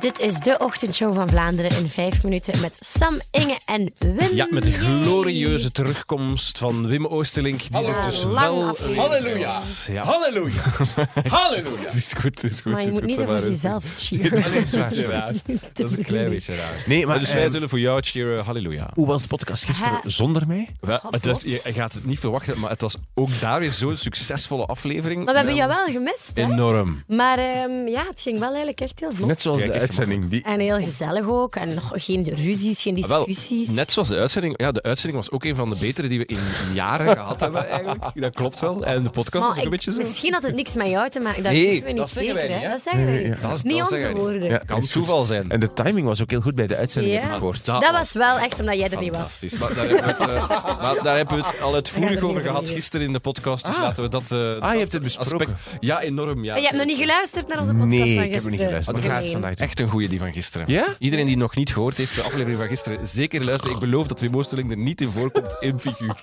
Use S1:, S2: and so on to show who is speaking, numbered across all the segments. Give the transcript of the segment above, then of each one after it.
S1: Dit is de ochtendshow van Vlaanderen in vijf minuten met Sam, Inge en Wim.
S2: Ja, met de glorieuze terugkomst van Wim Oosterlink. Die er dus
S1: lang
S2: wel...
S1: aflevering.
S3: Halleluja.
S2: Ja.
S3: Halleluja. Halleluja.
S2: Het is goed, het is goed.
S1: Maar je
S2: het is
S1: moet niet
S2: goed,
S1: over
S2: Samaris.
S1: jezelf cheeren.
S2: Nee, dat is waar, raar. Dat is een klein beetje raar.
S3: Nee, maar,
S2: dus wij
S3: ehm,
S2: zullen voor jou cheeren, halleluja.
S3: Hoe was de podcast gisteren
S1: Hè?
S3: zonder mij?
S2: Wel,
S1: God,
S2: het was,
S1: wat?
S2: je, je gaat het niet verwachten, maar het was ook daar weer zo'n succesvolle aflevering.
S1: Maar we hebben jou
S2: Ja.
S1: wel gemist, hè?
S2: Enorm.
S1: Maar ehm, ja, het ging wel eigenlijk echt heel vlot.
S3: Net zoals
S2: Kijk
S3: de
S2: even,
S3: uitzending. Die...
S1: En heel gezellig ook. En nog geen ruzies, geen
S2: Ah, Wel,
S1: discussies.
S2: net zoals de uitzending. Ja, de uitzending was ook een van de betere die we in jaren gehad hebben, eigenlijk. Dat klopt wel. En de podcast
S1: Maar
S2: was ook een
S1: ik-
S2: beetje zo.
S1: Misschien had het niks met jou te maken. Dat
S2: Nee,
S1: weten we niet
S2: dat zeggen wij
S1: zeker,
S2: niet,
S1: hè?
S2: hè?
S1: Dat zeggen wij
S3: Nee,
S1: niet.
S2: Dat is-
S1: niet
S2: dat
S1: onze
S2: zeggen wij niet.
S1: woorden.
S3: Ja,
S2: Kan
S3: is goed.
S2: toeval zijn.
S3: En de timing was ook heel goed bij de uitzending,
S1: Ja.
S3: heb ik gehoord.
S1: Dat was wel echt omdat jij er niet was.
S2: Ah, Fantastisch. Maar daar hebben we het, eh, maar daar hebben we het al
S1: We gaan
S2: uitvoerig
S1: er
S2: over
S1: niet
S2: gehad
S1: over
S2: gisteren in de podcast. Dus laten we dat. eh,
S3: Ah,
S2: dat
S3: je hebt het besproken.
S2: aspect- Ja, enorm. Ja.
S1: Maar je hebt nog niet geluisterd naar onze podcast
S3: Nee,
S1: van
S3: ik heb er niet
S1: gisteren.
S3: geluisterd. Maar
S1: Nee.
S3: ga het vandaag doen.
S2: Echt een goeie die van gisteren.
S3: Ja?
S2: Iedereen die nog niet gehoord heeft, de aflevering van gisteren, zeker luisteren. Ik beloof dat Wim Oosterling er niet in voorkomt in figuur.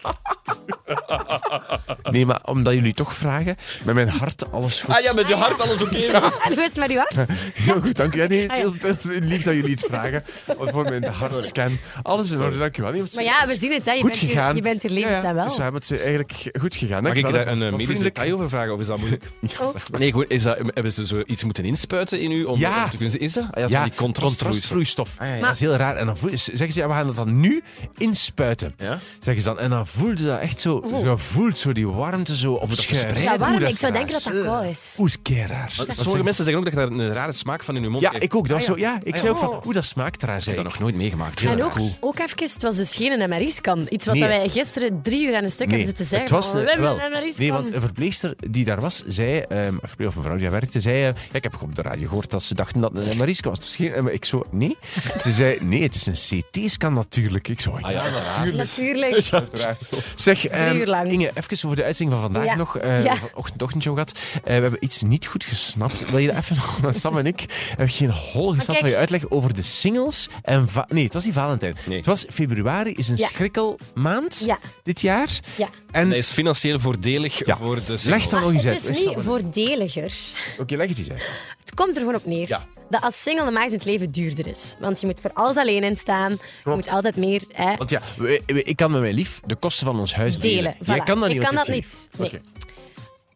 S3: Nee, maar omdat jullie toch vragen, met mijn hart alles goed.
S2: Ah, met
S1: Ah,
S2: je hart alles oké.
S1: En hoe Ah, is het met uw hart?
S3: Heel goed, dank u. Ja, nee,
S1: Ah,
S3: het is heel, heel lief dat jullie het vragen. Want Voor mijn hartscan. Alles in orde, dank u wel. Nee, want
S1: Maar
S3: het
S1: ja,
S3: is
S1: we zien het, hè. Je,
S3: goed
S1: bent,
S3: gegaan.
S1: hier- je bent er
S3: Ja,
S1: levend
S3: ja,
S1: en wel.
S3: Dus we hebben het eh, eigenlijk goed gegaan.
S2: Mag
S3: Dank u
S2: ik
S3: wel.
S2: daar een eh,
S3: Wat
S2: medisch
S3: vriendelijk.
S2: detail over vragen? Of is dat moeilijk?
S1: Oh.
S2: Nee, goed. Is dat, hebben ze zoiets moeten inspuiten in u? Om,
S3: Ja.
S2: om te kunnen, is dat? Ah, ja, van
S3: Ja,
S2: die contrastvloeistof.
S3: contrastvloeistof.
S2: Ah, ja, ja.
S3: Dat is heel raar. En dan voel- zeggen ze, ja, we gaan dat dan nu inspuiten.
S2: Ja?
S3: Zeggen ze dan. En dan voelde dat echt zo, je voelt zo die warmte zo op het gesprek.
S1: Ja, waarom? Ik zou denken dat dat koud is.
S3: Oeh, is kei raar.
S2: Want Sommige mensen zeggen ook dat je daar een rare smaak van in je mond
S3: Ja,
S2: krijgt.
S3: ik ook. Dat was
S2: Ah,
S3: zo, ja, ik zei ook
S1: Oh.
S3: van, oeh, dat smaakt raar,
S2: Ik
S3: zei
S2: heb
S3: ik.
S2: dat nog nooit meegemaakt.
S1: En ook, ook even, het was dus geen MRI-scan. Iets wat
S3: Nee.
S1: wij gisteren drie uur aan een stuk hebben zitten zeggen.
S3: het was
S1: van,
S3: eh,
S1: we hebben
S3: wel.
S1: een MRI-scan.
S3: Nee, want een verpleegster die daar was, zei, ehm, een verpleeg- of een vrouw die daar werkte, zei, eh, ja, ik heb op de radio gehoord dat ze dachten dat het een MRI-scan was. Dus geen, en ik zo, nee. Ze zei, nee, het is een CT-scan natuurlijk. Ik zo, ja, natuurlijk.
S1: Natuurlijk.
S3: Zeg, ehm,
S1: uur lang.
S3: Inge, even over de uitzending van vandaag
S1: Ja.
S3: nog. eh
S1: Ja.
S3: van Ochtend, ochtendshow gehad. Eh, we hebben iets niet goed gesnapt. Wil je dat even nog? Want Sam en ik hebben geen hol gesnapt
S1: kijk.
S3: van je uitleg over de singles. En va- nee, het was niet Valentijn.
S2: Nee.
S3: Het was februari, is een
S1: Ja.
S3: schrikkelmaand
S1: Ja.
S3: dit jaar.
S1: Ja.
S3: En
S2: Dat is financieel voordelig
S3: Ja.
S2: voor de
S3: leg
S2: single.
S3: dat nog eens uit.
S1: Het
S3: Leg
S1: is niet
S3: dat-
S1: voordeliger.
S3: Oké, leg het eens uit.
S1: Het komt er gewoon op neer.
S2: Ja.
S1: Dat als single de maagd het leven duurder is. Want je moet voor alles alleen in staan. Je moet altijd meer hè,
S3: Want ja, we- we- ik kan met mijn lief de kosten van ons huis delen.
S1: delen.
S3: Jij
S1: Voilà.
S3: kan dat niet.
S1: Ik kan
S3: want
S1: dat
S3: je hebt
S1: niet. Nee.
S3: geen- Oké.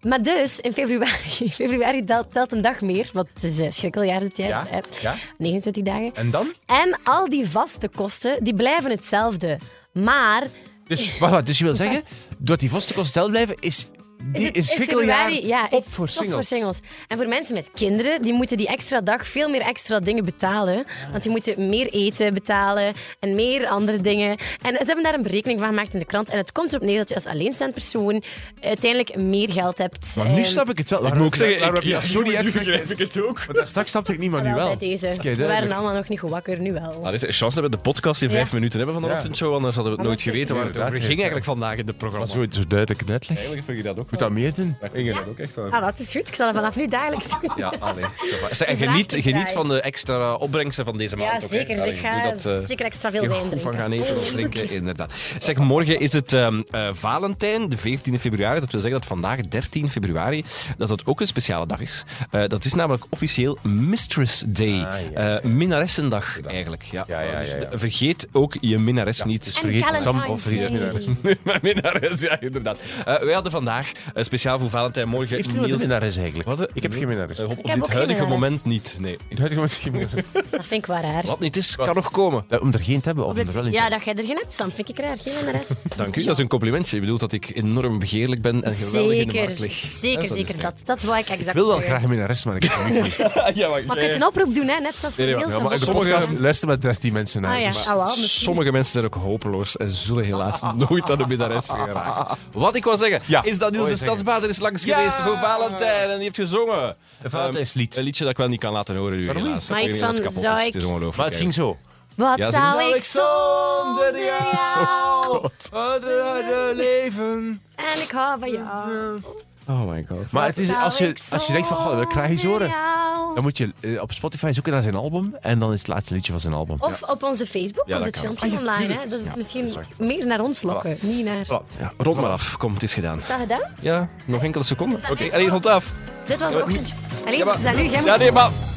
S1: Maar dus, in februari, februari telt, telt een dag meer, want het is eh, schrikkeljaar dit jaar,
S3: Ja,
S1: dus, eh,
S3: ja.
S1: 29 dagen.
S3: En dan?
S1: En al die vaste kosten, die blijven hetzelfde. Maar
S3: Dus, wacht, wacht, dus je wil zeggen, doordat die vaste kosten zelf blijven, is die
S1: het-
S3: is schrikkeljaar
S1: februari- ja,
S3: top
S1: is
S3: voor
S1: top
S3: singles.
S1: voor singles. En voor mensen met kinderen, die moeten die extra dag veel meer extra dingen betalen. Want die moeten meer eten betalen en meer andere dingen. En ze hebben daar een berekening van gemaakt in de krant. En het komt erop neer dat je als alleenstaand persoon uiteindelijk meer geld hebt.
S3: Maar nu
S1: Ehm,
S3: snap ik het wel.
S2: Ik
S3: Waarom
S2: moet ook zeggen,
S3: waarom
S2: ik,
S3: heb je
S2: ja,
S3: dat zo niet
S2: nu
S3: uitgelegd?
S2: begrijp ik het ook.
S3: Want daar straks snapte ik niet, maar nu
S1: wel
S3: wel.
S1: bij deze.
S3: Dat is
S1: We waren
S3: keiduidelijk.
S1: allemaal nog niet goed wakker, nu wel.
S2: Dat is een chance dat we de podcast in
S1: Ja.
S2: vijf minuten hebben van de
S3: Ja.
S2: ochtendshow, anders hadden we het nooit
S1: Anders
S2: geweten waar het over
S3: inderdaad,
S2: ging eigenlijk vandaag in het programma.
S3: Maar zo, zo duidelijk een uitleg. Moet
S2: Eigenlijk vind je dat ook
S3: dat meer doen?
S2: Inge, dat ook echt wel.
S1: Ah, dat is goed. Ik zal dat vanaf nu dagelijks doen.
S2: Ja, allee. zo va- Zeg,
S1: Ik
S2: En
S1: raak
S2: geniet,
S1: die
S2: geniet
S1: draai.
S2: van de extra opbrengsten van deze maand.
S1: Ja,
S2: ook, hè.
S1: zeker.
S2: Allee,
S1: Ik ga
S2: doe dat, eh,
S1: zeker extra veel
S2: heel
S1: wijn
S2: goed van
S1: drinken.
S2: gaan eten of drinken, inderdaad. Zeg, morgen is het ehm, eh, Valentijn, de 14e februari. Dat wil zeggen dat vandaag, 13 februari, dat het ook een speciale dag is. Eh, dat is namelijk officieel Mistress Day. Eh, minnaressendag, eigenlijk. Ja.
S3: Ah, Ja, ja, ja,
S2: Dus
S3: ja.
S2: de- vergeet ook je minnares niet.
S1: En Valentine's Day.
S2: Mijn minnares, ja, inderdaad. Eh, wij hadden vandaag, eh, speciaal voor Valentijn, morgen...
S3: Heeft iemand een
S2: Niels-
S3: minnares eigenlijk? Ik heb geen minnares.
S2: Eh, op-
S1: Ik
S2: op
S1: heb ook
S2: dit
S1: geen
S2: huidige
S1: minnares.
S2: moment niet, nee.
S3: Ik weet gewoon geen minnares.
S1: Dat vind ik wel raar.
S2: Wat niet is, kan nog komen.
S3: Ja, Om er geen te hebben of om er wel in te
S1: Ja, dat jij er geen hebt, Sam. Vind ik raar. Geen rest.
S2: Dank u, dat is een complimentje. Je bedoelt dat ik enorm begeerlijk ben en geweldig in de
S1: Zeker,
S2: markt lig.
S1: zeker, zeker dat. Dat wou ik exact
S3: Ik wil wel
S1: zeggen.
S3: graag een minnares, maar ik heb het niet.
S2: ja, maar,
S1: Maar je kunt een oproep doen, hè? net zoals voor
S2: Nee, nee,
S1: Niels.
S2: maar-
S1: en Bob.
S2: maar de Sommige-
S3: Podcast, luister met 13 mensen naar.
S1: Ah ja,
S3: Dus-
S1: ah, wel, misschien.
S2: Sommige mensen zijn ook hopeloos en zullen helaas nooit aan de minnares geraken. Wat ik wil zeggen,
S3: Ja.
S2: is dat Niels
S3: Wou
S2: de
S3: je zeggen.
S2: Stadsbader is langs
S3: Ja.
S2: geweest voor Valentijn en die heeft gezongen.
S3: Een Valentijnslied.
S2: Ehm, Een liedje dat ik wel niet kan laten horen nu,
S3: Waarom niet?
S2: helaas.
S1: Maar
S2: Ik
S1: iets
S2: weet niet
S1: van,
S2: wat kapot
S1: zou
S2: is.
S1: ik-
S2: Het is ongelooflijk.
S3: Maar het ging
S2: eigenlijk.
S3: zo.
S1: Wat
S2: Ja, ze-
S1: zou ik zonder jou?
S2: leven.
S1: En ik hou van
S2: Ah,
S1: jou.
S2: Oh my god.
S3: Maar het is,
S1: Zou
S3: als, je,
S1: ik
S3: als je denkt van, goh, dat krijg je eens
S1: zonder
S3: horen.
S1: jou?
S3: Dan moet je eh, op Spotify zoeken naar zijn album. En dan is het laatste liedje van zijn album.
S1: Of op onze Facebook
S2: Ja,
S1: komt
S2: dat
S1: het
S2: kan.
S1: filmpje online. Hè? Dat is misschien meer naar ons lokken, niet naar... Is
S2: Ja, rond maar af. Kom, het is gedaan.
S1: dat gedaan?
S2: Ja, nog enkele seconden. Oké,
S1: Is dat echt-
S2: alleen rond af.
S1: Dit was
S2: maar
S1: ook...
S2: niet-
S1: Alleen,
S2: Ja, maar-
S1: Zalu, jij moet...
S2: Ja, nee, maar...